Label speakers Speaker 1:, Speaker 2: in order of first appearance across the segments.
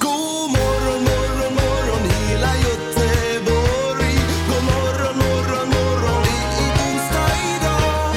Speaker 1: God morgon, morgon, morgon hela Göteborg. God morgon, morgon, morgon det är onsdag idag.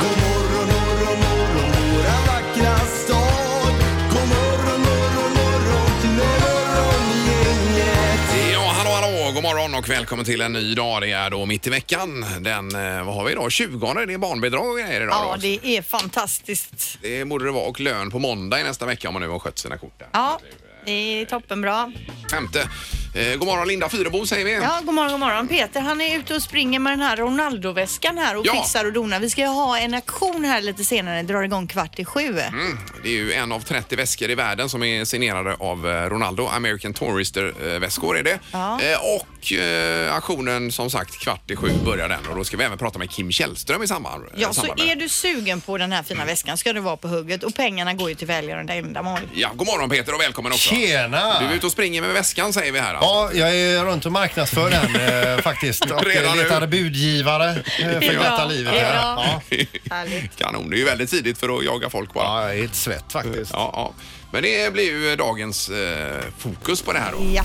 Speaker 1: God morgon, morgon, morgon våra vackra stad. God morgon, morgon, morgon till morgongänget.
Speaker 2: Ja, hallå, hallå, god morgon och välkommen till en ny dag. Det är då mitt i veckan. Den, eh, vad har vi idag? 20 det är barnbidrag och grejer idag.
Speaker 3: Ja,
Speaker 2: då.
Speaker 3: det är fantastiskt.
Speaker 2: det borde det vara. Och lön på måndag i nästa vecka om man nu har skött sina kort där.
Speaker 3: Ja, det är toppenbra.
Speaker 2: Femte. Eh, god morgon Linda Fyrebo säger vi.
Speaker 3: Ja, god morgon, god morgon. Peter, han är ute och springer med den här Ronaldo-väskan här och
Speaker 2: Ja.
Speaker 3: fixar och donar. Vi ska ju ha en aktion här lite senare, drar igång kvart i sju.
Speaker 2: Mm, det är ju en av 30 väskor i världen som är signerade av eh, Ronaldo. American Tourister-väskor är det.
Speaker 3: Ja.
Speaker 2: Eh, och eh, aktionen som sagt kvart i sju börjar den och då ska vi även prata med Kim Källström i samband.
Speaker 3: Ja, så
Speaker 2: samband med
Speaker 3: är
Speaker 2: den.
Speaker 3: du sugen på den här fina
Speaker 2: Mm.
Speaker 3: väskan ska du vara på hugget och pengarna går ju till välgörande ändamål.
Speaker 2: Ja, god morgon Peter och välkommen också.
Speaker 4: Tjena!
Speaker 2: Du är ute och springer med väskan säger vi här. alltså.
Speaker 4: Ja, jag är runt och marknadsför den eh, faktiskt.
Speaker 2: Redan
Speaker 4: Och Redan
Speaker 2: nu.
Speaker 4: letar budgivare eh, för
Speaker 3: bra,
Speaker 4: detta livet.
Speaker 3: det är
Speaker 4: här.
Speaker 3: bra.
Speaker 4: Ja.
Speaker 3: Härligt.
Speaker 2: Kanon, det är ju väldigt tidigt för att jaga folk bara. Ja.
Speaker 4: ja, jag är ett svett faktiskt.
Speaker 2: Ja, Men det blir ju dagens eh, fokus på det här då.
Speaker 3: Ja.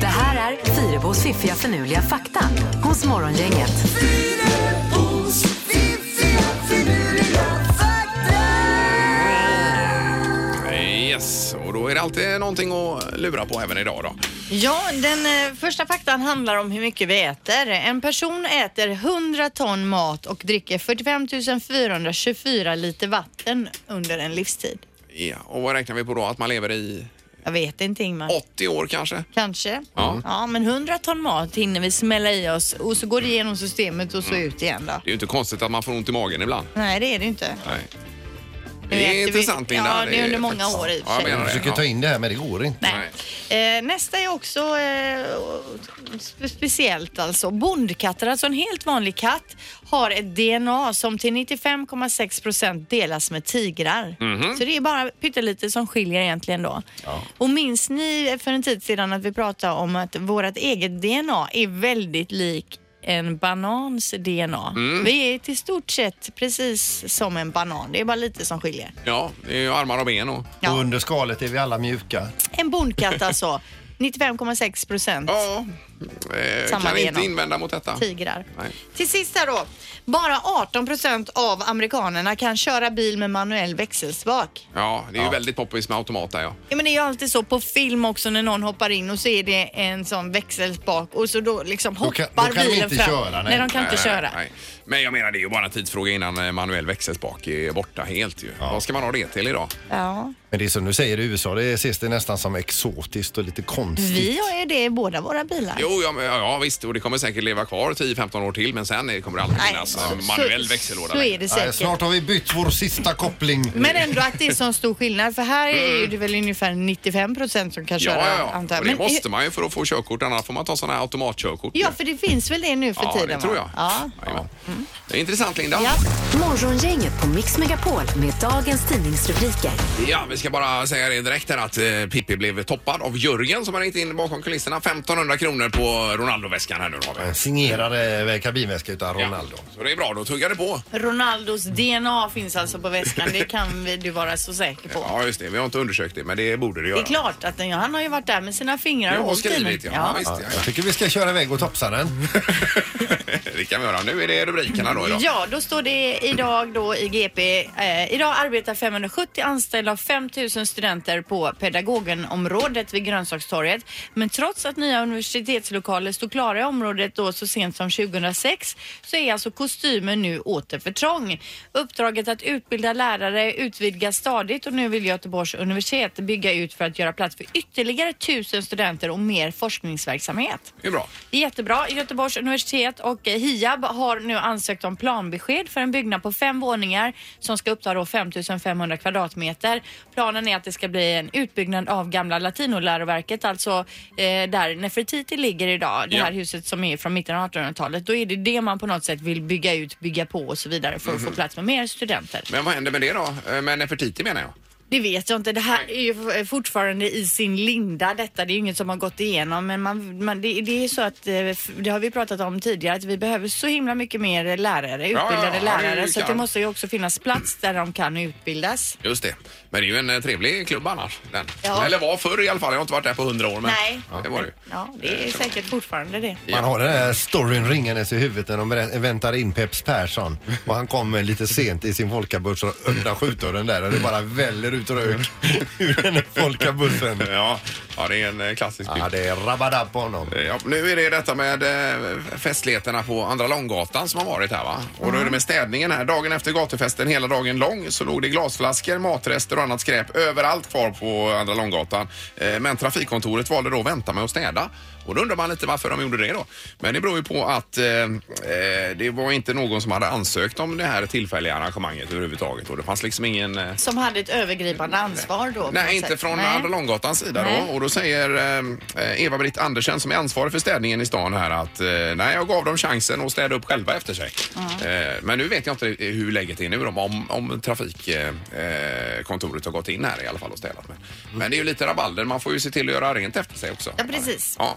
Speaker 5: Det här är Fyrabos fiffiga förnuliga fakta hos Morgongänget.
Speaker 1: Fynebos fiffiga finurliga fakta.
Speaker 2: Yes, och då är det alltid någonting att lura på även idag då.
Speaker 3: Ja, den eh, första faktan handlar om hur mycket vi äter. En person äter 100 ton mat och dricker 45 424 liter vatten under en livstid.
Speaker 2: Ja, och vad räknar vi på då? Att man lever i
Speaker 3: Jag vet inte Ingmar.
Speaker 2: 80 år kanske?
Speaker 3: Kanske.
Speaker 2: Ja.
Speaker 3: men 100 ton mat hinner vi smälla i oss och så går det igenom systemet och så
Speaker 2: Mm.
Speaker 3: ut igen då.
Speaker 2: Det är ju inte konstigt att man får ont i magen ibland.
Speaker 3: Nej, det är det inte.
Speaker 2: Nej.
Speaker 3: Nu
Speaker 2: Det
Speaker 3: äter
Speaker 2: är
Speaker 3: vi-
Speaker 2: intressant Linda.
Speaker 3: Ja, det är under många
Speaker 2: faktiskt-
Speaker 3: år i och
Speaker 2: Ja,
Speaker 3: för
Speaker 2: jag
Speaker 3: sig.
Speaker 2: menar
Speaker 4: Jag
Speaker 2: det.
Speaker 4: försöker ta in det här men det går inte.
Speaker 3: Nej. Eh, nästa är också eh, spe- speciellt alltså. Bondkatter, alltså en helt vanlig katt, har ett DNA som till 95,6 procent delas med tigrar. Så det är bara pyttelite som skiljer egentligen då. Och minns ni för en tid sedan att vi pratade om att vårt eget DNA är väldigt lik en banans DNA. Vi är till stort sett precis som en banan. Det är bara lite som skiljer.
Speaker 2: Ja, det är ju armar och ben och...
Speaker 3: Ja.
Speaker 4: Och under skalet är vi alla mjuka.
Speaker 3: En bondkatt alltså. 95,6 procent.
Speaker 2: Ja, eh,
Speaker 3: Samma Typ.
Speaker 2: kan inte
Speaker 3: DNA.
Speaker 2: invända mot detta.
Speaker 3: tigrar.
Speaker 2: Nej.
Speaker 3: Till sist här då. Bara 18 procent av amerikanerna kan köra bil med manuell växelspak.
Speaker 2: Ja, det är ju väldigt poppis med automat där ja.
Speaker 3: Ja, men det är ju alltid så på film också när någon hoppar in och så är det en sån växelspak och så då liksom
Speaker 4: Då
Speaker 3: hoppar
Speaker 4: kan- då kan de
Speaker 3: bilen
Speaker 4: inte
Speaker 3: fram.
Speaker 4: köra, nej.
Speaker 3: nej. de kan inte
Speaker 2: Nej,
Speaker 3: köra.
Speaker 2: Eh, nej. Men jag menar det är ju bara en tidsfråga innan eh, manuell växelspak är borta helt ju. Vad ska man ha det till idag?
Speaker 3: Ja.
Speaker 4: Men det är som du säger i USA, det ses det nästan som exotiskt och lite konstigt.
Speaker 3: Vi har ju det i båda våra bilar.
Speaker 2: Jo, ja, men- ja, ja visst och det kommer säkert leva kvar 10-15 år till men sen eh, kommer det aldrig finnas eh, manuell växellåda
Speaker 3: Så är
Speaker 2: längre.
Speaker 3: det
Speaker 4: Nej,
Speaker 3: säkert.
Speaker 4: snart har vi bytt vår sista koppling.
Speaker 3: Men ändå att det är sån stor skillnad för här är ju det väl ungefär 95 procent som kan
Speaker 2: Mm. Ja,
Speaker 3: köra.
Speaker 2: ja, ja.
Speaker 3: antar jag.
Speaker 2: Och det
Speaker 3: Men-
Speaker 2: måste man ju för att få körkort. Annars får man ta sådana här automatkörkort.
Speaker 3: Ja, för det finns väl det nu för
Speaker 2: ja, det
Speaker 3: tiden?
Speaker 2: tror jag.
Speaker 3: va? Ja. Mm.
Speaker 2: Jajamän. Det är intressant, Linda.
Speaker 3: Ja.
Speaker 5: Morgongänget på Mix Megapol med dagens tidningsrubriker.
Speaker 2: Ja, vi ska bara säga det direkt här att eh, Pippi blev toppad av Jörgen som har ringt in bakom kulisserna. 1500 kronor på Ronaldo-väskan här nu då har vi.
Speaker 4: Signerade eh, kabinväska utan Eh, Ronaldo.
Speaker 2: Ja, så det är bra, då tuggar det på.
Speaker 3: Ronaldos DNA finns alltså på väskan. Det kan vi- du vara så säker på.
Speaker 2: Ja, just det. Vi har inte undersökt det, men det borde det göra.
Speaker 3: Det är klart att den, han har ju varit där med sina fingrar
Speaker 2: Ja,
Speaker 3: hållit i den.
Speaker 2: skrivit, ja. Ja, visst, ja.
Speaker 4: Jag tycker vi ska köra iväg och topsa den.
Speaker 2: det kan vi göra. Nu är det rubrikerna då idag.
Speaker 3: Ja, då står det idag då i GP. Eh, idag arbetar 570 anställda och 5000 studenter på pedagogenområdet vid Grönsakstorget. Men trots att nya universitetslokaler stod klara i området då så sent som 2006 så är alltså kostymen nu åter för trång. Uppdraget att utbilda lärare utvidgas stadigt och nu vill Göteborgs universitet bygga ut för att göra plats för ytterligare 1000 studenter och mer forskningsverksamhet.
Speaker 2: Det är bra.
Speaker 3: Det är Jättebra. Göteborgs universitet och eh, Hiab har nu ansökt om planbesked för en byggnad på fem våningar som ska uppta då 5 500 kvadratmeter. Planen är att det ska bli en utbyggnad av gamla latinoläroverket, alltså eh, där Nefertiti ligger idag, det här
Speaker 2: Ja.
Speaker 3: huset som är från mitten av 1800-talet. Då är det det man på något sätt vill bygga ut, bygga på och så vidare för att få plats med mer studenter.
Speaker 2: Mhm. Men vad händer med det då? Eh, Med Nefertiti menar jag.
Speaker 3: Det vet jag inte. Det här är ju f- eh, fortfarande i sin linda detta. Det är ju inget som har gått igenom. Men man, man, det, det är så att, eh, f- det har vi pratat om tidigare, att vi behöver så himla mycket mer lärare,
Speaker 2: ja,
Speaker 3: utbildade
Speaker 2: ja, det är ju
Speaker 3: lärare. Så att det
Speaker 2: klart.
Speaker 3: måste ju också finnas plats där de kan utbildas.
Speaker 2: Just det. Men det är ju en eh, trevlig klubb annars. Den.
Speaker 3: Ja.
Speaker 2: Eller var förr i alla fall. Jag har inte varit där på hundra år. Men
Speaker 3: Nej.
Speaker 2: Det var det ju.
Speaker 3: Ja, det är säkert fortfarande det.
Speaker 4: Man har den här storyn ringandes i huvudet när de berä- väntar in Peps Persson och han kommer lite sent i sin folkabuss och öppnar skjutdörren där och det bara väller ut rök ur den här folkabussen.
Speaker 2: Ja. ja, det är en eh, klassisk bild.
Speaker 4: Ja, det är rabadab på honom.
Speaker 2: Ja, nu är det detta med eh, festligheterna på Andra Långgatan som har varit här va? Och då är det med städningen här. Dagen efter gatufesten hela dagen lång så låg det glasflaskor, matrester och annat skräp överallt kvar på Andra Långgatan. Eh, Men trafikkontoret valde då att vänta med att städa. Och då undrar man lite varför de gjorde det då. Men det beror ju på att eh, eh, det var inte någon som hade ansökt om det här tillfälliga arrangemanget överhuvudtaget. Och det fanns liksom ingen... eh,
Speaker 3: Som hade ett övergripande ansvar då. på något
Speaker 2: Nej, inte
Speaker 3: sätt.
Speaker 2: från
Speaker 3: Nej.
Speaker 2: Andra Långgatans sida
Speaker 3: Nej.
Speaker 2: då. Och då säger eh, Eva-Britt Andersen som är ansvarig för städningen i stan här att eh, nej, jag gav dem chansen att städa upp själva efter sig. Eh, men nu vet jag inte hur läget är nu då, om, om trafikkontoret eh, kontoret har gått in här i alla fall och städat. Men, men det är ju lite rabalder. Man får ju se till att göra rent efter sig också.
Speaker 3: Ja, precis.
Speaker 2: Ja,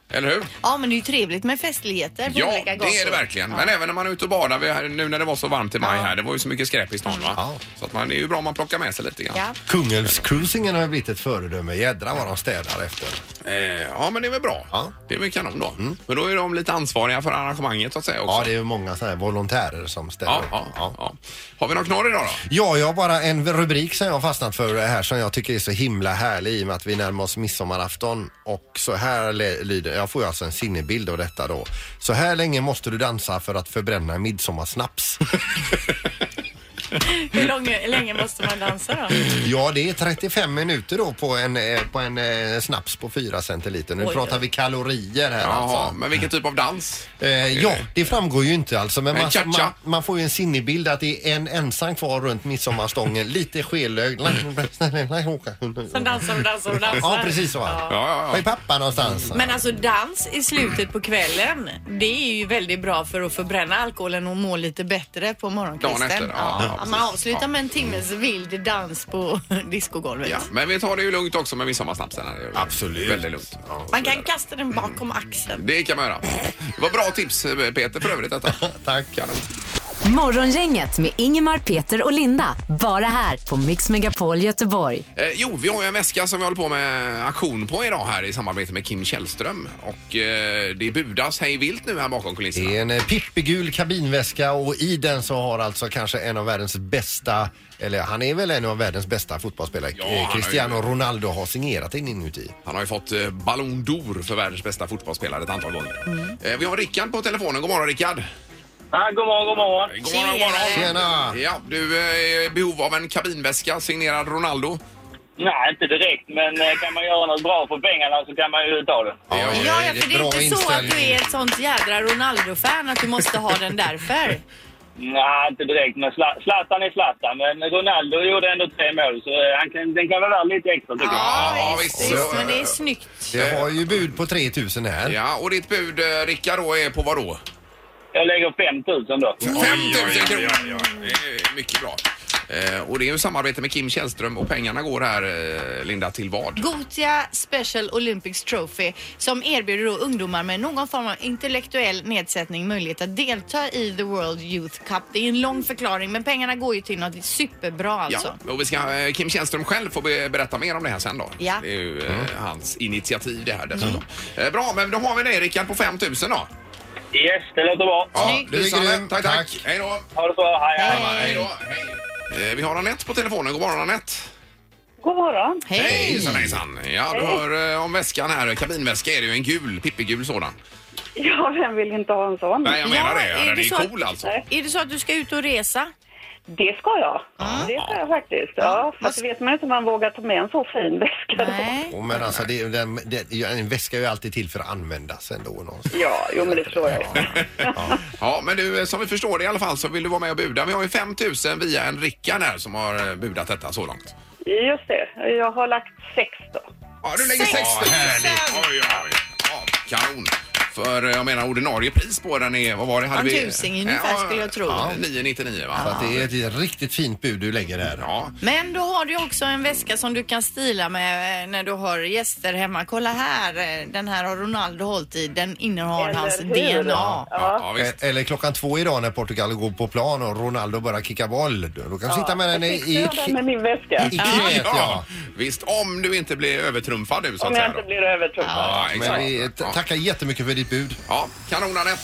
Speaker 2: eller hur?
Speaker 3: Ja, men det är ju trevligt med festligheter på
Speaker 2: Ja,
Speaker 3: olika
Speaker 2: det är det
Speaker 3: gator.
Speaker 2: verkligen.
Speaker 3: Ja.
Speaker 2: Men även när man är ute och badar, vi har- nu när det var så varmt i maj här, det var ju så mycket skräp i stan va?
Speaker 4: Ja.
Speaker 2: Så att man, det är ju bra om man plockar med sig lite grann.
Speaker 3: Ja.
Speaker 4: Kungälvscruisingen har ju blivit ett föredöme. Jädrar vad de städar efter.
Speaker 2: Eh, ja, men det är väl bra.
Speaker 4: Ja. Mm.
Speaker 2: Det är väl kanon då. Men då är de lite ansvariga för arrangemanget så att säga också.
Speaker 4: Ja, det är ju många sådana här volontärer som städar
Speaker 2: ja,
Speaker 4: upp.
Speaker 2: ja, ja. Har vi någon knorr idag då?
Speaker 4: Ja, jag har bara en rubrik som jag har fastnat för här som jag tycker är så himla härlig i och med att vi närmar oss midsommarafton. Och så här le- lyder, jag får ju alltså en sinnebild av detta då. Så här länge måste du dansa för att förbränna midsommarsnaps.
Speaker 3: Hur lång, länge måste man dansa då?
Speaker 4: ja, det är 35 minuter då på en, eh, på en eh, snaps på 4 centiliter. Nu
Speaker 3: Oj,
Speaker 4: pratar
Speaker 3: oj.
Speaker 4: vi kalorier här
Speaker 2: Jaha,
Speaker 4: alltså.
Speaker 2: men vilken typ av dans?
Speaker 4: Eh, ja, det framgår ju inte alltså. Men
Speaker 2: Men
Speaker 4: man,
Speaker 2: cha-cha.
Speaker 4: man, man får ju en sinnebild att det är en ensam kvar runt midsommarstången. lite skelögd.
Speaker 3: Som dansar och dansar och dansar.
Speaker 4: Ja, precis så. Ja.
Speaker 2: Ja, ja, Mm.
Speaker 4: Var
Speaker 2: ja.
Speaker 4: är pappa någonstans?
Speaker 3: Men alltså dans i slutet på kvällen, det är ju väldigt bra för att förbränna alkoholen och må lite bättre på
Speaker 2: Dagen
Speaker 3: morgonkvisten.
Speaker 2: efter, ja, ja,
Speaker 3: man
Speaker 2: precis.
Speaker 3: avslutar
Speaker 2: Ja.
Speaker 3: med en timmes vild dans på discogolvet.
Speaker 2: ja. Men vi tar det ju lugnt också med midsommarsnapsen. här. Det är ju
Speaker 4: Absolut.
Speaker 2: Väldigt lugnt. Ja,
Speaker 3: Man kan kasta den bakom axeln.
Speaker 2: Det kan man göra. Det var bra tips eh, Peter för övrigt detta.
Speaker 4: Tack.
Speaker 2: Kanon.
Speaker 5: Morgongänget med Ingemar, Peter och Linda. Bara här på Mix Megapol Göteborg.
Speaker 2: Eh, jo, vi har ju en väska som vi håller på med auktion på idag här i samarbete med Kim Källström. Och eh, det budas hej vilt nu här bakom kulisserna.
Speaker 4: Det är en eh, pippigul kabinväska och i den så har alltså kanske en av världens bästa, eller han är väl en av världens bästa fotbollsspelare,
Speaker 2: Ja,
Speaker 4: eh,
Speaker 2: han har ju-
Speaker 4: Cristiano Ronaldo har signerat in inuti.
Speaker 2: Han har ju fått eh, Ballon d'Or för världens bästa fotbollsspelare ett antal gånger.
Speaker 3: Mm.
Speaker 2: Eh, Vi har Rickard på telefonen. God morgon Rickard! Eh,
Speaker 6: Ja, god morgon, god morgon.
Speaker 2: God morgon, god morgon.
Speaker 4: Tjena!
Speaker 2: Ja, du eh, är i behov av en kabinväska signerad Ronaldo.
Speaker 6: Nej, inte direkt, men eh, kan man göra något bra för pengarna så kan man ju ta det.
Speaker 2: Ja,
Speaker 4: det är
Speaker 3: Ja, ja, för det är
Speaker 4: bra
Speaker 3: inte så att
Speaker 4: inställning.
Speaker 3: du är ett sånt jädra Ronaldo-fan att du måste ha den därför.
Speaker 6: Nej, inte direkt, men Zla- Zlatan är Zlatan. Men Ronaldo gjorde ändå tre mål, så eh, han kan, den kan vara värd lite extra tycker jag.
Speaker 2: Ja,
Speaker 3: Ja,
Speaker 2: visst,
Speaker 3: visst,
Speaker 2: ja,
Speaker 3: visst, men
Speaker 2: ja,
Speaker 3: det
Speaker 2: ja.
Speaker 3: är snyggt.
Speaker 4: Det har ju bud på 3000 här.
Speaker 2: Ja, och ditt bud eh, Rickard då är på vad då?
Speaker 6: Jag lägger 5 000 då.
Speaker 2: 5 000 kronor! Det är mycket bra. Eh, Och det är ju samarbete med Kim Källström och pengarna går här eh, Linda till vad?
Speaker 3: Gotia Special Olympics Trophy som erbjuder då ungdomar med någon form av intellektuell nedsättning möjlighet att delta i The World Youth Cup. Det är en lång förklaring men pengarna går ju till något superbra alltså.
Speaker 2: Ja, och vi ska, eh, Kim Källström själv får be- berätta mer om det här sen då.
Speaker 3: Ja. Mm.
Speaker 2: Det är ju eh, hans initiativ det här dessutom. Eh, Bra, men då har vi dig Rickard på 5 000 då.
Speaker 6: Yes, det låter bra.
Speaker 2: Ja,
Speaker 3: Snyggt.
Speaker 4: du är
Speaker 2: lysande.
Speaker 4: grym.
Speaker 2: Tack, tack.
Speaker 4: Tack.
Speaker 2: Hej då.
Speaker 6: Ha det så bra, hej, hej.
Speaker 2: Hej då. Hej. Eh, Vi har Anette på telefonen. God morgon Anette.
Speaker 7: God morgon.
Speaker 3: Hej!
Speaker 2: Hejsan hejsan. Ja, du hör eh, om väskan här. Kabinväska är det ju en gul, pippigul sådan.
Speaker 7: Ja, vem vill inte ha en sån?
Speaker 2: Nej, jag menar
Speaker 3: Ja,
Speaker 2: det. Ja,
Speaker 3: är
Speaker 2: den
Speaker 3: det
Speaker 2: är
Speaker 3: så
Speaker 2: cool alltså.
Speaker 3: Är det så att du ska ut och resa?
Speaker 7: Det ska jag. Det ska jag faktiskt. Ja, för att vet man ju inte om man vågar ta med en så fin väska då.
Speaker 3: Nej.
Speaker 4: Och men alltså, det, den, det, ja, en väska är ju alltid till för att användas ändå. Någonstans.
Speaker 7: Ja, jo men det förstår jag.
Speaker 2: Ja, men du, eh, som vi förstår det i alla fall så vill du vara med och buda. Vi har ju 5 000 via en Rickan här som har eh, budat detta så långt.
Speaker 7: Just det, jag har lagt sex då.
Speaker 2: Ja, du lägger 6 000! Härligt. Oj, oj, ja, kanon. För eh, jag menar ordinarie pris på den är, vad var det?
Speaker 3: Ja, en tusing ungefär skulle jag tro.
Speaker 2: Ja, 999 va?
Speaker 4: Så att det är ett riktigt fint bud du lägger här.
Speaker 2: Ja,
Speaker 3: Men då har du också en väska som du kan stila med eh, när du har gäster hemma. Kolla här, eh, den här har Ronaldo hållit i. Den innehar
Speaker 7: Eller
Speaker 3: hans
Speaker 7: hur?
Speaker 3: DNA.
Speaker 2: ja, ja visst.
Speaker 4: E- Eller klockan två idag när Portugal går på plan och Ronaldo börjar kicka boll. Då då kan du sitta med den i, i,
Speaker 7: Jag har den med
Speaker 4: i,
Speaker 7: min väska.
Speaker 4: i knät. Ja.
Speaker 2: Ja, visst. Om du inte blir övertrumfad nu så att
Speaker 7: Om jag
Speaker 2: säga.
Speaker 7: inte
Speaker 2: då.
Speaker 7: blir övertrumpad.
Speaker 2: Ja,
Speaker 4: Men
Speaker 2: exakt.
Speaker 4: vi t-
Speaker 2: Ja.
Speaker 4: tackar jättemycket för ditt bud.
Speaker 2: Ja, kanon Anette.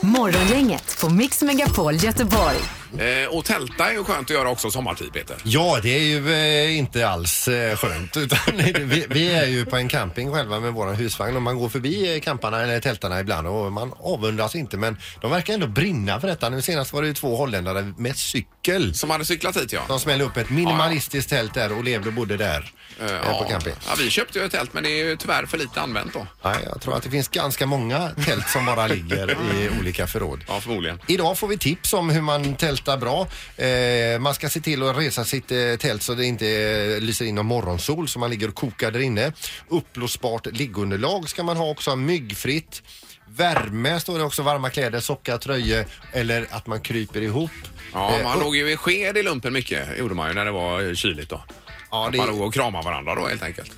Speaker 5: Morgongänget på Mix Megapol Göteborg.
Speaker 2: Eh, och tälta är ju skönt att göra också sommartid Peter.
Speaker 4: Ja, det är ju eh, inte alls eh, skönt. Utan vi, vi är ju på en camping själva med våran husvagn och man går förbi eh, camparna eller tältarna ibland och man avundas inte men de verkar ändå brinna för detta. Nu senast var det ju två holländare med cykel
Speaker 2: Som hade cyklat hit ja.
Speaker 4: som smällde upp ett minimalistiskt tält där och levde och bodde där
Speaker 2: Eh,
Speaker 4: eh, på camping.
Speaker 2: ja, vi köpte ju ett tält men det är ju tyvärr för lite använt då.
Speaker 4: Nej, jag tror att det finns ganska många tält som bara ligger i olika förråd.
Speaker 2: Ja, förmodligen.
Speaker 4: Idag får vi tips om hur man tältar bra. Eh, man ska se till att resa sitt eh, tält så det inte eh, lyser in någon morgonsol så man ligger och kokar där inne. Uppblåsbart liggunderlag ska man ha också, myggfritt. Värme står det också, varma kläder, sockar, tröjor eller att man kryper ihop.
Speaker 2: Ja,
Speaker 4: Eh,
Speaker 2: man
Speaker 4: och-
Speaker 2: låg ju i sked i lumpen mycket, gjorde man ju när det var eh, kyligt då.
Speaker 4: Ja,
Speaker 2: Man
Speaker 4: det,
Speaker 2: låg och kramade varandra då helt enkelt.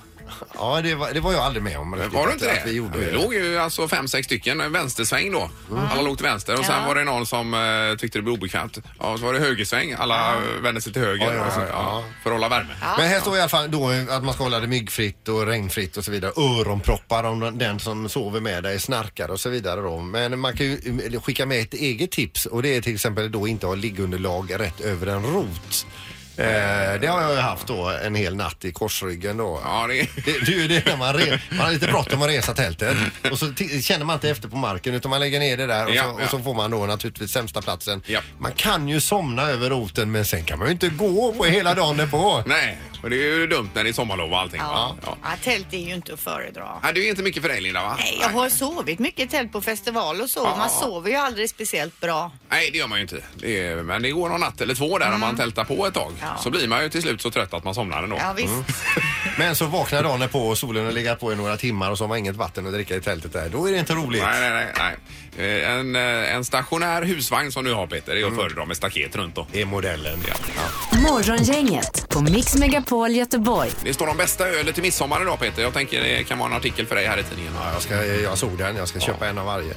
Speaker 4: ja det, var, det var jag aldrig med om. riktigt,
Speaker 2: Var du
Speaker 4: att-
Speaker 2: inte
Speaker 4: att
Speaker 2: det?
Speaker 4: Vi gjorde det. Mm.
Speaker 2: låg ju alltså fem, sex stycken, en vänstersväng då. Alla låg till vänster och sen
Speaker 3: Ja.
Speaker 2: var det någon som eh, tyckte det blev obekvämt. Ja, så var det högersväng, alla eh, vände sig till höger
Speaker 4: Ja, ja,
Speaker 2: och så,
Speaker 4: ja.
Speaker 2: ja, för att hålla värme.
Speaker 4: Men här står i alla fall då att man ska hålla det myggfritt och regnfritt och så vidare. Öronproppar om den som sover med dig snarkar och så vidare då. Men man kan ju skicka med ett eget tips och det är till exempel då inte ha liggunderlag rätt över en rot. Eh, det har jag ju haft då en hel natt i korsryggen då.
Speaker 2: Ja, det-
Speaker 4: Det, det är ju det när man, re, man har lite bråttom att resa tältet och så ti- känner man inte efter på marken utan man lägger ner det där och,
Speaker 2: Ja,
Speaker 4: så, och
Speaker 2: ja.
Speaker 4: så får man då naturligtvis sämsta platsen.
Speaker 2: Ja.
Speaker 4: Man kan ju somna över roten men sen kan man ju inte gå på hela dagen därpå.
Speaker 2: Nej, och det är ju dumt när det är sommarlov och allting. va? Ja.
Speaker 3: Ja, tält är ju inte att föredra.
Speaker 2: Nej, det är ju inte mycket för dig Linda va?
Speaker 3: Nej, jag har sovit mycket i tält på festival och så. Man sover ju aldrig speciellt bra.
Speaker 2: Nej, det gör man ju inte. Det är, men det går någon natt eller två där om man tältar på ett tag.
Speaker 3: Mm. Ja.
Speaker 2: Så blir man ju till slut så trött att man somnar ändå.
Speaker 3: Ja, visst.
Speaker 4: Men så vaknar dagen på och solen har legat på i några timmar och så har man inget vatten att dricka i tältet där. Då är det inte roligt.
Speaker 2: Nej, nej, nej. nej. Eh, En, eh, en stationär husvagn som du har Peter,
Speaker 3: Mm.
Speaker 2: det är att föredra med staket runt då.
Speaker 4: Det är modellen. Ja.
Speaker 5: Morgongänget på Mix Megapol Göteborg.
Speaker 2: Det står om bästa ölet till midsommar idag Peter. Jag tänker det kan vara en artikel för dig här i tidningen.
Speaker 4: Ja, jag, ska, jag såg den. Jag ska köpa en av varje.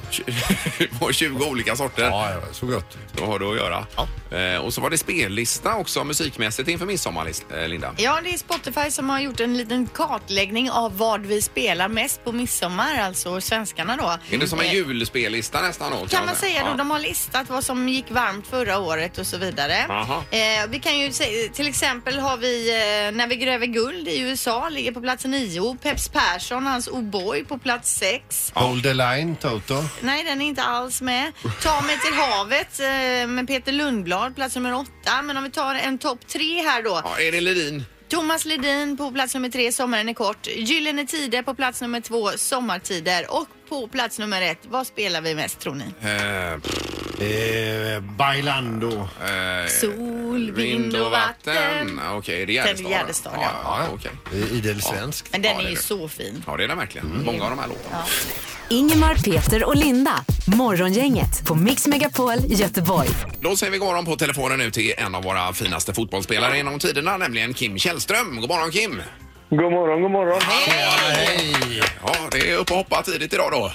Speaker 2: På 20 olika sorter.
Speaker 4: Ja, ja, så gött.
Speaker 2: Då har du att göra. Eh, och så var det spellista också musikmässigt inför midsommar Lis- eh, Linda.
Speaker 3: Ja, det är Spotify som har gjort en liten kartläggning av vad vi spelar mest på midsommar, alltså spenskarna då.
Speaker 2: Är det som en
Speaker 3: Eh,
Speaker 2: julspellista nästan då?
Speaker 3: Kan man säga då,
Speaker 2: Ja.
Speaker 3: de har listat vad som gick varmt förra året och så vidare.
Speaker 2: Aha.
Speaker 3: Eh, vi kan ju säga, till exempel har vi eh, När vi gräver guld i USA, ligger på plats nio. Peps Persson, hans O'boy på plats sex.
Speaker 4: Hold the line, Toto.
Speaker 3: Nej, den är inte alls med. Ta mig till havet eh, med Peter Lundblad, plats nummer åtta. Men om vi tar en topp tre här då.
Speaker 2: Ja, är det Ledin?
Speaker 3: Thomas Ledin på plats nummer tre, Sommaren är kort. Gyllene Tider på plats nummer två, Sommartider. Och på plats nummer ett, vad spelar vi mest tror ni?
Speaker 2: Eh,
Speaker 4: Eh, bailando.
Speaker 2: Eh,
Speaker 3: Sol, vind och vatten.
Speaker 2: Ah, Okej, det är Gärdestad.
Speaker 3: Den är Gärdestad,
Speaker 2: ja.
Speaker 3: ja.
Speaker 2: ja, okej.
Speaker 4: Idel svensk.
Speaker 3: Men den
Speaker 2: Ja, det
Speaker 3: är ju
Speaker 2: är det.
Speaker 3: så fin.
Speaker 2: Ja, det är den verkligen.
Speaker 3: Mm.
Speaker 2: Många av de här låtarna.
Speaker 5: Ingemar, Peter och Linda. Morgongänget på Mix Megapol Göteborg.
Speaker 2: Då säger vi god morgon på telefonen nu till en av våra finaste fotbollsspelare genom tiderna, nämligen Kim Källström. God morgon Kim!
Speaker 6: God morgon, god morgon.
Speaker 4: Hej!
Speaker 2: Ja, det är upp och hoppa tidigt idag då.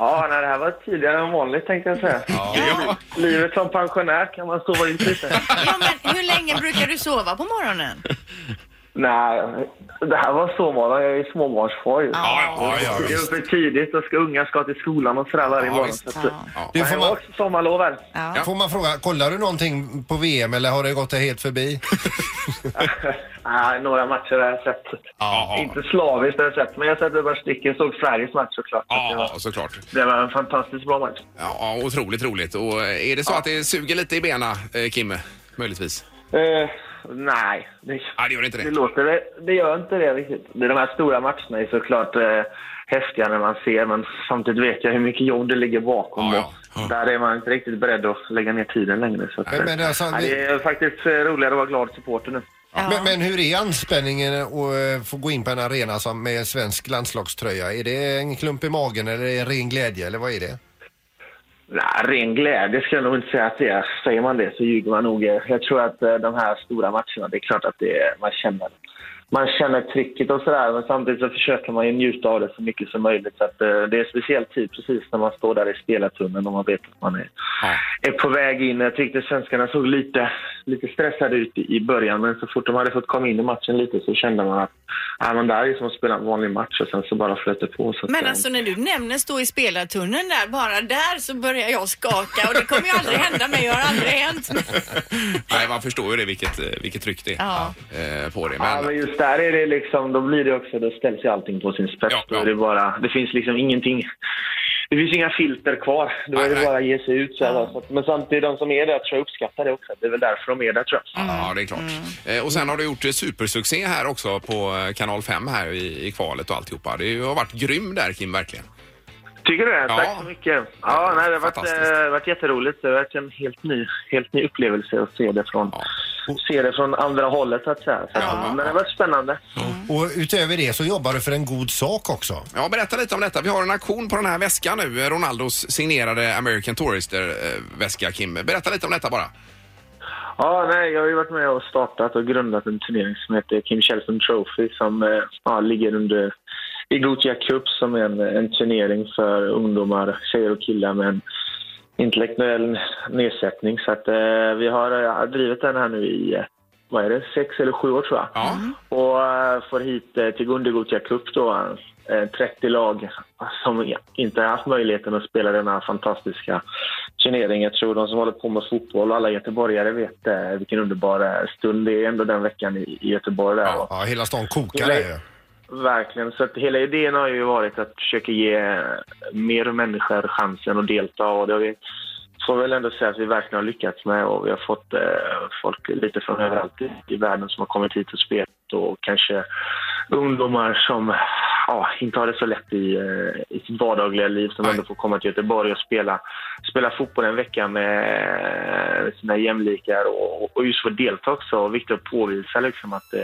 Speaker 6: Ja, nej, det här var tidigare än vanligt tänkte jag säga.
Speaker 2: Ja.
Speaker 6: Livet som pensionär kan man sova ut lite.
Speaker 3: Ja, men hur länge brukar du sova på morgonen?
Speaker 6: Nej, det här var så många. Jag är ju småbarnsfar ju.
Speaker 2: Ja, ja, ja,
Speaker 6: Det är
Speaker 2: visst.
Speaker 6: för tidigt och ska, unga ska till skolan och sådär varje
Speaker 2: Ja,
Speaker 6: morgon.
Speaker 2: visst.
Speaker 6: Så att, eh, det
Speaker 4: Du,
Speaker 6: det
Speaker 4: får,
Speaker 6: var
Speaker 4: man,
Speaker 6: också sommarlov här.
Speaker 3: Ja.
Speaker 4: får man fråga, kollar du någonting på VM eller har det gått dig helt förbi?
Speaker 6: Nej, några matcher har jag sett.
Speaker 2: Ja, ja.
Speaker 6: Inte slaviskt har jag sett, men jag har sett ett par stycken. Såg Sveriges match såklart.
Speaker 2: Ja,
Speaker 6: Det var-
Speaker 2: ja, såklart.
Speaker 6: Det var en fantastiskt bra match.
Speaker 2: Ja, ja, otroligt roligt. Och eh, är det så att det suger lite i benen, eh, Kimme? Möjligtvis?
Speaker 6: Eh, nej, det,
Speaker 2: Nej, det gör inte
Speaker 6: det
Speaker 2: det.
Speaker 6: låter det- Det gör inte det riktigt. Det är de här stora matcherna är såklart eh, häftiga när man ser, men samtidigt vet jag hur mycket jobb det ligger bakom.
Speaker 2: Ja, ja.
Speaker 6: Och där är man inte riktigt beredd att lägga ner tiden längre. Så att,
Speaker 4: Nej,
Speaker 6: eh,
Speaker 4: men alltså,
Speaker 6: nej,
Speaker 4: vi-
Speaker 6: det är faktiskt eh, roligare att vara glad supporter nu.
Speaker 4: Men, men hur är anspänningen att eh, få gå in på en arena som med svensk landslagströja? Är det en klump i magen eller är det en ren glädje eller vad är det?
Speaker 6: Nej, ren glädje ska jag nog inte säga att det är. Säger man det så ljuger man nog. Jag tror att eh, de här stora matcherna, det är klart att det är, man, känner, man känner trycket och sådär. Men samtidigt så försöker man ju njuta av det så mycket som möjligt. Så att, eh, det är en speciell tid precis när man står där i spelartunneln och man vet att man är, är på väg in. Jag tyckte svenskarna såg lite, lite stressade ut i, i början. Men så fort de hade fått komma in i matchen lite så kände man att ah, men det här är som att spela en vanlig match och sen så bara flöt det på. Så att,
Speaker 3: Men
Speaker 6: eh,
Speaker 3: alltså när du nämner stå i spelartunneln där, bara där så börjar jag skaka och det kommer ju aldrig hända mig, det har aldrig hänt mig.
Speaker 2: Nej, man förstår ju det, vilket, eh, vilket tryck det är
Speaker 3: Ja.
Speaker 2: eh, på det.
Speaker 6: Ja, men
Speaker 2: Men,
Speaker 6: just där är det liksom, då blir det också, då ställs ju allting på sin spets.
Speaker 2: Ja, ja.
Speaker 6: Då är det, bara, det finns liksom ingenting, det finns inga filter kvar. Då
Speaker 2: Nej,
Speaker 6: är det
Speaker 2: nej.
Speaker 6: bara att ge sig ut. Så här, va. Så att- Men samtidigt, de som är där tror jag uppskattar det också. Det är väl därför de är där tror jag.
Speaker 2: ja, det är klart.
Speaker 6: Mm.
Speaker 2: Eh, Och sen har du gjort eh, supersuccé här också på eh, kanal 5 här i, i kvalet och alltihopa. Det har varit grym där, Kim, verkligen.
Speaker 6: Tycker du det?
Speaker 2: Ja.
Speaker 6: Tack så mycket. Ja, nej, det har varit,
Speaker 2: Fantastiskt.
Speaker 6: eh, varit jätteroligt. Det har varit en helt ny, helt ny upplevelse att se det från,
Speaker 2: Ja.
Speaker 6: se det från andra hållet så att säga. Så, att- Men det har varit spännande.
Speaker 4: Och utöver det så jobbar du för en god sak också.
Speaker 2: Ja, berätta lite om detta. Vi har en auktion på den här väskan nu. eh, Ronaldos signerade American Tourister-väska, Kim. Berätta lite om detta bara.
Speaker 6: Ja, nej, jag har ju varit med och startat och grundat en turnering som heter Kim Källström Trophy som eh, ja, ligger under i Gothia Cup som är en, en turnering för ungdomar, tjejer och killar med en intellektuell nedsättning. Så att, eh, vi har eh, drivit den här nu i eh, vad är det, sex eller sju år tror jag.
Speaker 2: Ja.
Speaker 6: Och eh, får hit eh, till Gunde Gothia Cup då eh, 30 lag som inte har haft möjligheten att spela den här fantastiska turneringen. Jag tror de som håller på med fotboll och alla göteborgare vet eh, vilken underbar eh, stund det är ändå den veckan i i Göteborg. Där. Och-
Speaker 4: Ja, hela stan kokar där ju.
Speaker 6: Verkligen. Så att hela idén har ju varit att försöka ge mer människor chansen att delta. Och det har vi, får väl ändå säga att vi verkligen har lyckats med. Och vi har fått eh, folk lite från överallt i, i världen som har kommit hit och spelat. Och kanske ungdomar som ja, inte har det så lätt i, eh, i sitt vardagliga liv som
Speaker 2: Nej.
Speaker 6: ändå får komma till Göteborg och spela, spela fotboll en vecka med eh, sina jämlikar. Och, och- och just få delta också. Och viktigt att påvisa liksom att eh,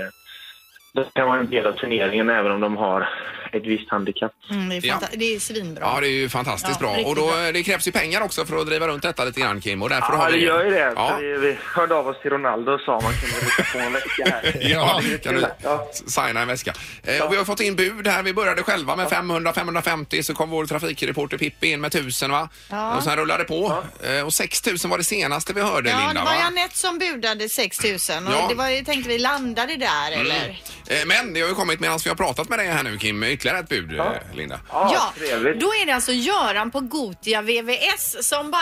Speaker 6: det kan vara en del av turneringen även om de har ett visst handikapp.
Speaker 3: Mm, det, är
Speaker 2: Ja.
Speaker 3: fanta- det är svinbra.
Speaker 2: Ja, det är ju fantastiskt
Speaker 3: Ja,
Speaker 2: bra.
Speaker 3: riktigt
Speaker 2: Och då,
Speaker 3: bra.
Speaker 2: eh, det krävs ju pengar också för att driva runt detta lite grann, Kim. Och därför
Speaker 6: Ja,
Speaker 2: har
Speaker 6: det
Speaker 2: vi...
Speaker 6: gör ju det.
Speaker 2: Ja.
Speaker 6: Så Vi, vi hörde av oss till Ronaldo och sa att man kunde rycka på en vecka här.
Speaker 2: Ja, kan du
Speaker 6: Ja.
Speaker 2: signa en väska. Eh, och vi har fått in bud här. Vi började själva med 500, 550 så kom vår trafikreporter Pippi in med 1000 va?
Speaker 3: Ja.
Speaker 2: Och sen rullade det på. Eh, och 6000 var det senaste vi hörde
Speaker 3: Ja, det
Speaker 2: Linda
Speaker 3: var ju
Speaker 2: va?
Speaker 3: Anette som budade 6000 och
Speaker 2: Ja.
Speaker 3: det var ju, tänkte vi landade där eller?
Speaker 2: Eh, men det har ju kommit medan vi har pratat med dig här nu Kim, ytterligare ett bud eh, Linda.
Speaker 6: Ja, trevligt.
Speaker 3: då är det alltså Göran på Gotia VVS som bara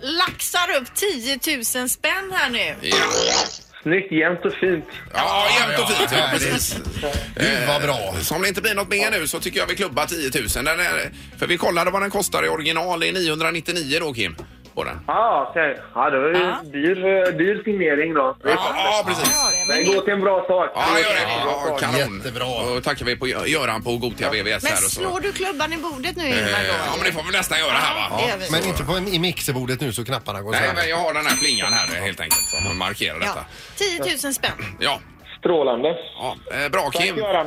Speaker 3: laxar upp 10 000 spänn här nu.
Speaker 2: Ja,
Speaker 6: Snyggt, jämnt och fint.
Speaker 2: ja jämnt och fint. Ja,
Speaker 4: Ja,
Speaker 2: precis.
Speaker 4: Gud vad bra.
Speaker 2: Så om det inte blir något mer nu så tycker jag vi klubbar 10 000. Den är, för vi kollade vad den kostar i original. Det är 999 då Kim. På den.
Speaker 6: Ja, okej. Ja, det var ju
Speaker 3: Ja.
Speaker 6: dyr, eh, dyr signering då.
Speaker 2: Ja, ja precis.
Speaker 3: Ja, det-
Speaker 6: Den
Speaker 3: men det-
Speaker 6: går till en bra sak.
Speaker 2: Ja, gör det.
Speaker 6: Bra
Speaker 2: Ja,
Speaker 6: sak.
Speaker 2: kanon.
Speaker 4: Jättebra.
Speaker 2: Då tackar vi på Gö- Göran på Gothia VVS
Speaker 3: Men
Speaker 2: här. Och så.
Speaker 3: slår du klubban i bordet nu
Speaker 2: Eh,
Speaker 3: Ingmar då?
Speaker 2: Ja, men det får vi nästan göra här va?
Speaker 3: Ja, det gör vi.
Speaker 4: Men inte på en, i mixerbordet nu så knapparna går
Speaker 2: Nej, men
Speaker 4: sönder.
Speaker 2: jag har den här plingan här eh, helt enkelt som markerar detta.
Speaker 3: Ja. 10 000 spänn.
Speaker 2: Ja,
Speaker 6: Strålande.
Speaker 2: ja. Eh, bra Kim.
Speaker 6: Tack, Göran.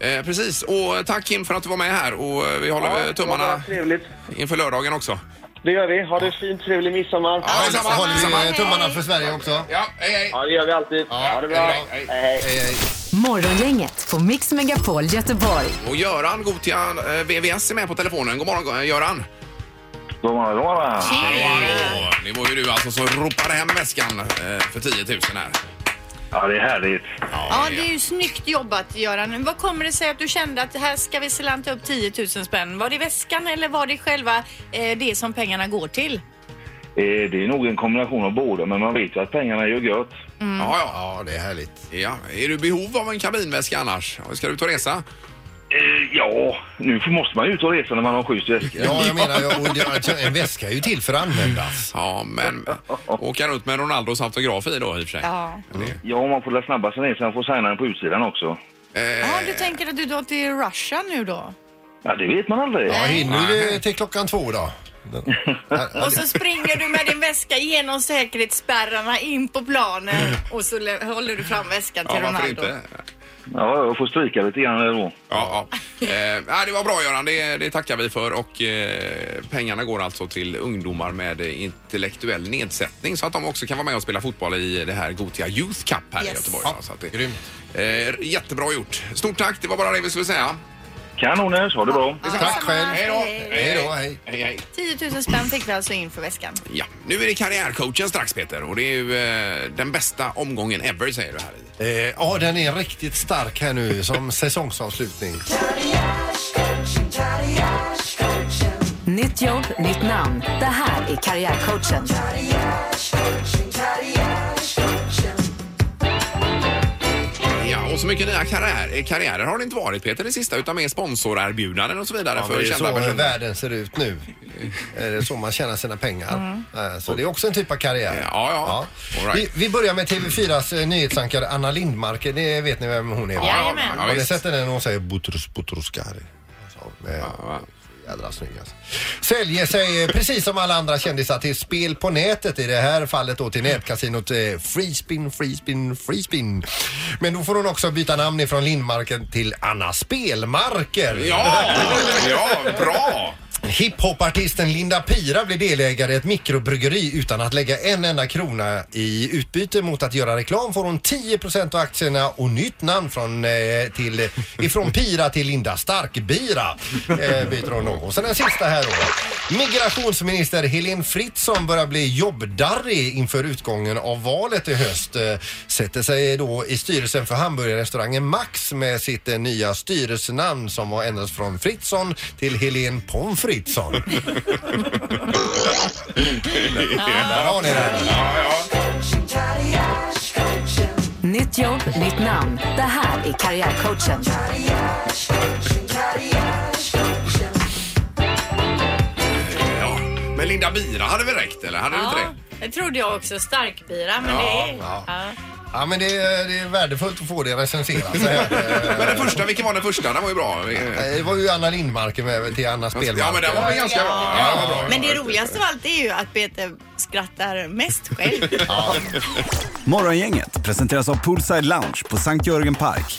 Speaker 2: Eh, precis, och tack Kim för att du var med här och eh, vi håller
Speaker 6: Ja,
Speaker 2: eh,
Speaker 6: det var
Speaker 2: tummarna
Speaker 6: trevligt.
Speaker 2: inför lördagen också.
Speaker 6: Det gör vi. Ha det fint, trevlig midsommar.
Speaker 2: Ja, detsamma.
Speaker 4: Håller
Speaker 2: detsamma.
Speaker 4: vi eh, tummarna för Sverige också?
Speaker 2: Ja, hej hej.
Speaker 6: Ja, det gör vi alltid. Ha det bra.
Speaker 2: Hej, hej.
Speaker 6: hej.
Speaker 4: Eh,
Speaker 5: Morgongänget på Mix Megapol Göteborg.
Speaker 2: Och Göran Gothia eh, VVS är med på telefonen. God morgon eh, Göran.
Speaker 6: God morgon, god morgon.
Speaker 2: Hallå. Det var ju du alltså som ropade hem väskan eh, för 10 000 eh, här.
Speaker 6: Ja, det är härligt.
Speaker 3: Ja, det är ju snyggt jobbat Göran. Vad kommer det sig att du kände att här ska vi slanta upp 10 000 spänn? Var det väskan eller var det själva eh, det som pengarna går till?
Speaker 6: Eh, Det är nog en kombination av båda, men man vet ju att pengarna gör gött.
Speaker 2: Ja, ja.
Speaker 4: Ja, det är härligt.
Speaker 2: ja. Är du i behov av en kabinväska annars? Ska du ut och resa?
Speaker 6: Eh, Ja, nu får- måste man ju ut och resa när man har sju väskor.
Speaker 4: Ja, jag menar, jag, och det- alltså, en väska är ju till för att användas.
Speaker 2: Ja, men åka runt med Ronaldos autograf i då i och för sig. Mm.
Speaker 3: Ja.
Speaker 6: Ja, man får la snabba sig ner så man får signa den på utsidan också.
Speaker 3: ja,
Speaker 2: Eh,
Speaker 3: du tänker att du drar till Russia nu då?
Speaker 6: Ja, det vet man aldrig.
Speaker 4: Ja, hinner du till klockan två då?
Speaker 3: Och så springer du med din väska genom säkerhetsspärrarna in på planen och så lä- håller du fram väskan till
Speaker 2: ja, varför
Speaker 3: Ronaldo.
Speaker 2: inte?
Speaker 6: Ja, jag får stryka lite grann där då.
Speaker 2: Ja, ja. Eh, nej, det var bra Göran, det, det tackar vi för och eh, pengarna går alltså till ungdomar med intellektuell nedsättning så att de också kan vara med och spela fotboll i det här Gotia Youth Cup här i
Speaker 3: Yes.
Speaker 2: Göteborg. va? så att det,
Speaker 4: Grymt.
Speaker 2: eh, jättebra gjort. Stort tack, det var bara det vi skulle säga.
Speaker 6: Kanoners, ha det bra.
Speaker 4: Tack själv.
Speaker 2: Hej då!
Speaker 4: Hej då, hej.
Speaker 2: hej, hej.
Speaker 3: 10 000 spänn fick vi alltså in för väskan.
Speaker 2: Ja, nu är det karriärcoachen strax Peter och det är ju eh, den bästa omgången ever säger du här i.
Speaker 4: Eh, Ja, den är riktigt stark här nu som säsongsavslutning.
Speaker 5: Nytt jobb, nytt namn. Det här är Karriärcoachen.
Speaker 2: Ja, och så mycket nya karriär, karriärer har det inte varit Peter det sista utan mer sponsorerbjudanden och så vidare
Speaker 4: Ja, men
Speaker 2: för
Speaker 4: det är
Speaker 2: kända
Speaker 4: så
Speaker 2: personer.
Speaker 4: världen ser ut nu. Eh, Det är så man tjänar sina pengar. Eh, Så det är också en typ av karriär.
Speaker 2: Mm. Ja, ja. All right.
Speaker 4: Vi, vi börjar med TV4s eh, nyhetsankare Anna Lindmark. Det vet ni vem hon är? va?
Speaker 3: Ja, Jajamän.
Speaker 2: ja,
Speaker 4: Har ni
Speaker 2: visst.
Speaker 4: sett den när hon säger Boutros Boutros-Ghali? Alltså, eh, Jädra snygg alltså. Säljer sig eh, precis som alla andra kändisar till spel på nätet. I det här fallet då till nätkasinot eh, Freespin, Freespin, Freespin. Men då får hon också byta namn ifrån Lindmarken till Anna Spelmarker.
Speaker 2: Ja, ja, bra!
Speaker 4: Hiphopartisten Linda Pira blir delägare i ett mikrobryggeri utan att lägga en enda krona i utbyte mot att göra reklam får hon 10 av aktierna och nytt namn från, eh, till, ifrån Pira till Linda Starkbira. Eh, byter hon då. Och sen den sista här då. Migrationsminister Helene Fritzon börjar bli jobbdarrig inför utgången av valet i höst. Eh, Sätter sig då i styrelsen för hamburgerrestaurangen Max med sitt eh, nya styrelsenamn som har ändrats från Fritzon till Helene Pommes Fritzson. Där har ni den.
Speaker 5: Nytt jobb, nytt namn. Det här är Karriärcoachen.
Speaker 2: Ja. Men Linda Bira hade väl räckt, eller? Hade du inte
Speaker 3: Ja,
Speaker 2: det?
Speaker 3: det trodde jag också. Starkbira, men
Speaker 2: Ja,
Speaker 3: det är...
Speaker 4: ja.
Speaker 3: Ja.
Speaker 4: Ja men det är, det är värdefullt att få det recenserat. Så här,
Speaker 2: Men den första, vilken var den första? Den var ju bra.
Speaker 4: eh, Det var ju Anna Lindmarken med till Anna
Speaker 2: Ja, men
Speaker 4: Spelmarker.
Speaker 2: den var väl ganska bra. Ja, den var bra.
Speaker 3: Men det roligaste av allt är ju att Peter skrattar mest själv.
Speaker 8: Morgongänget presenteras av Poolside Lounge på Sankt Jörgen Park.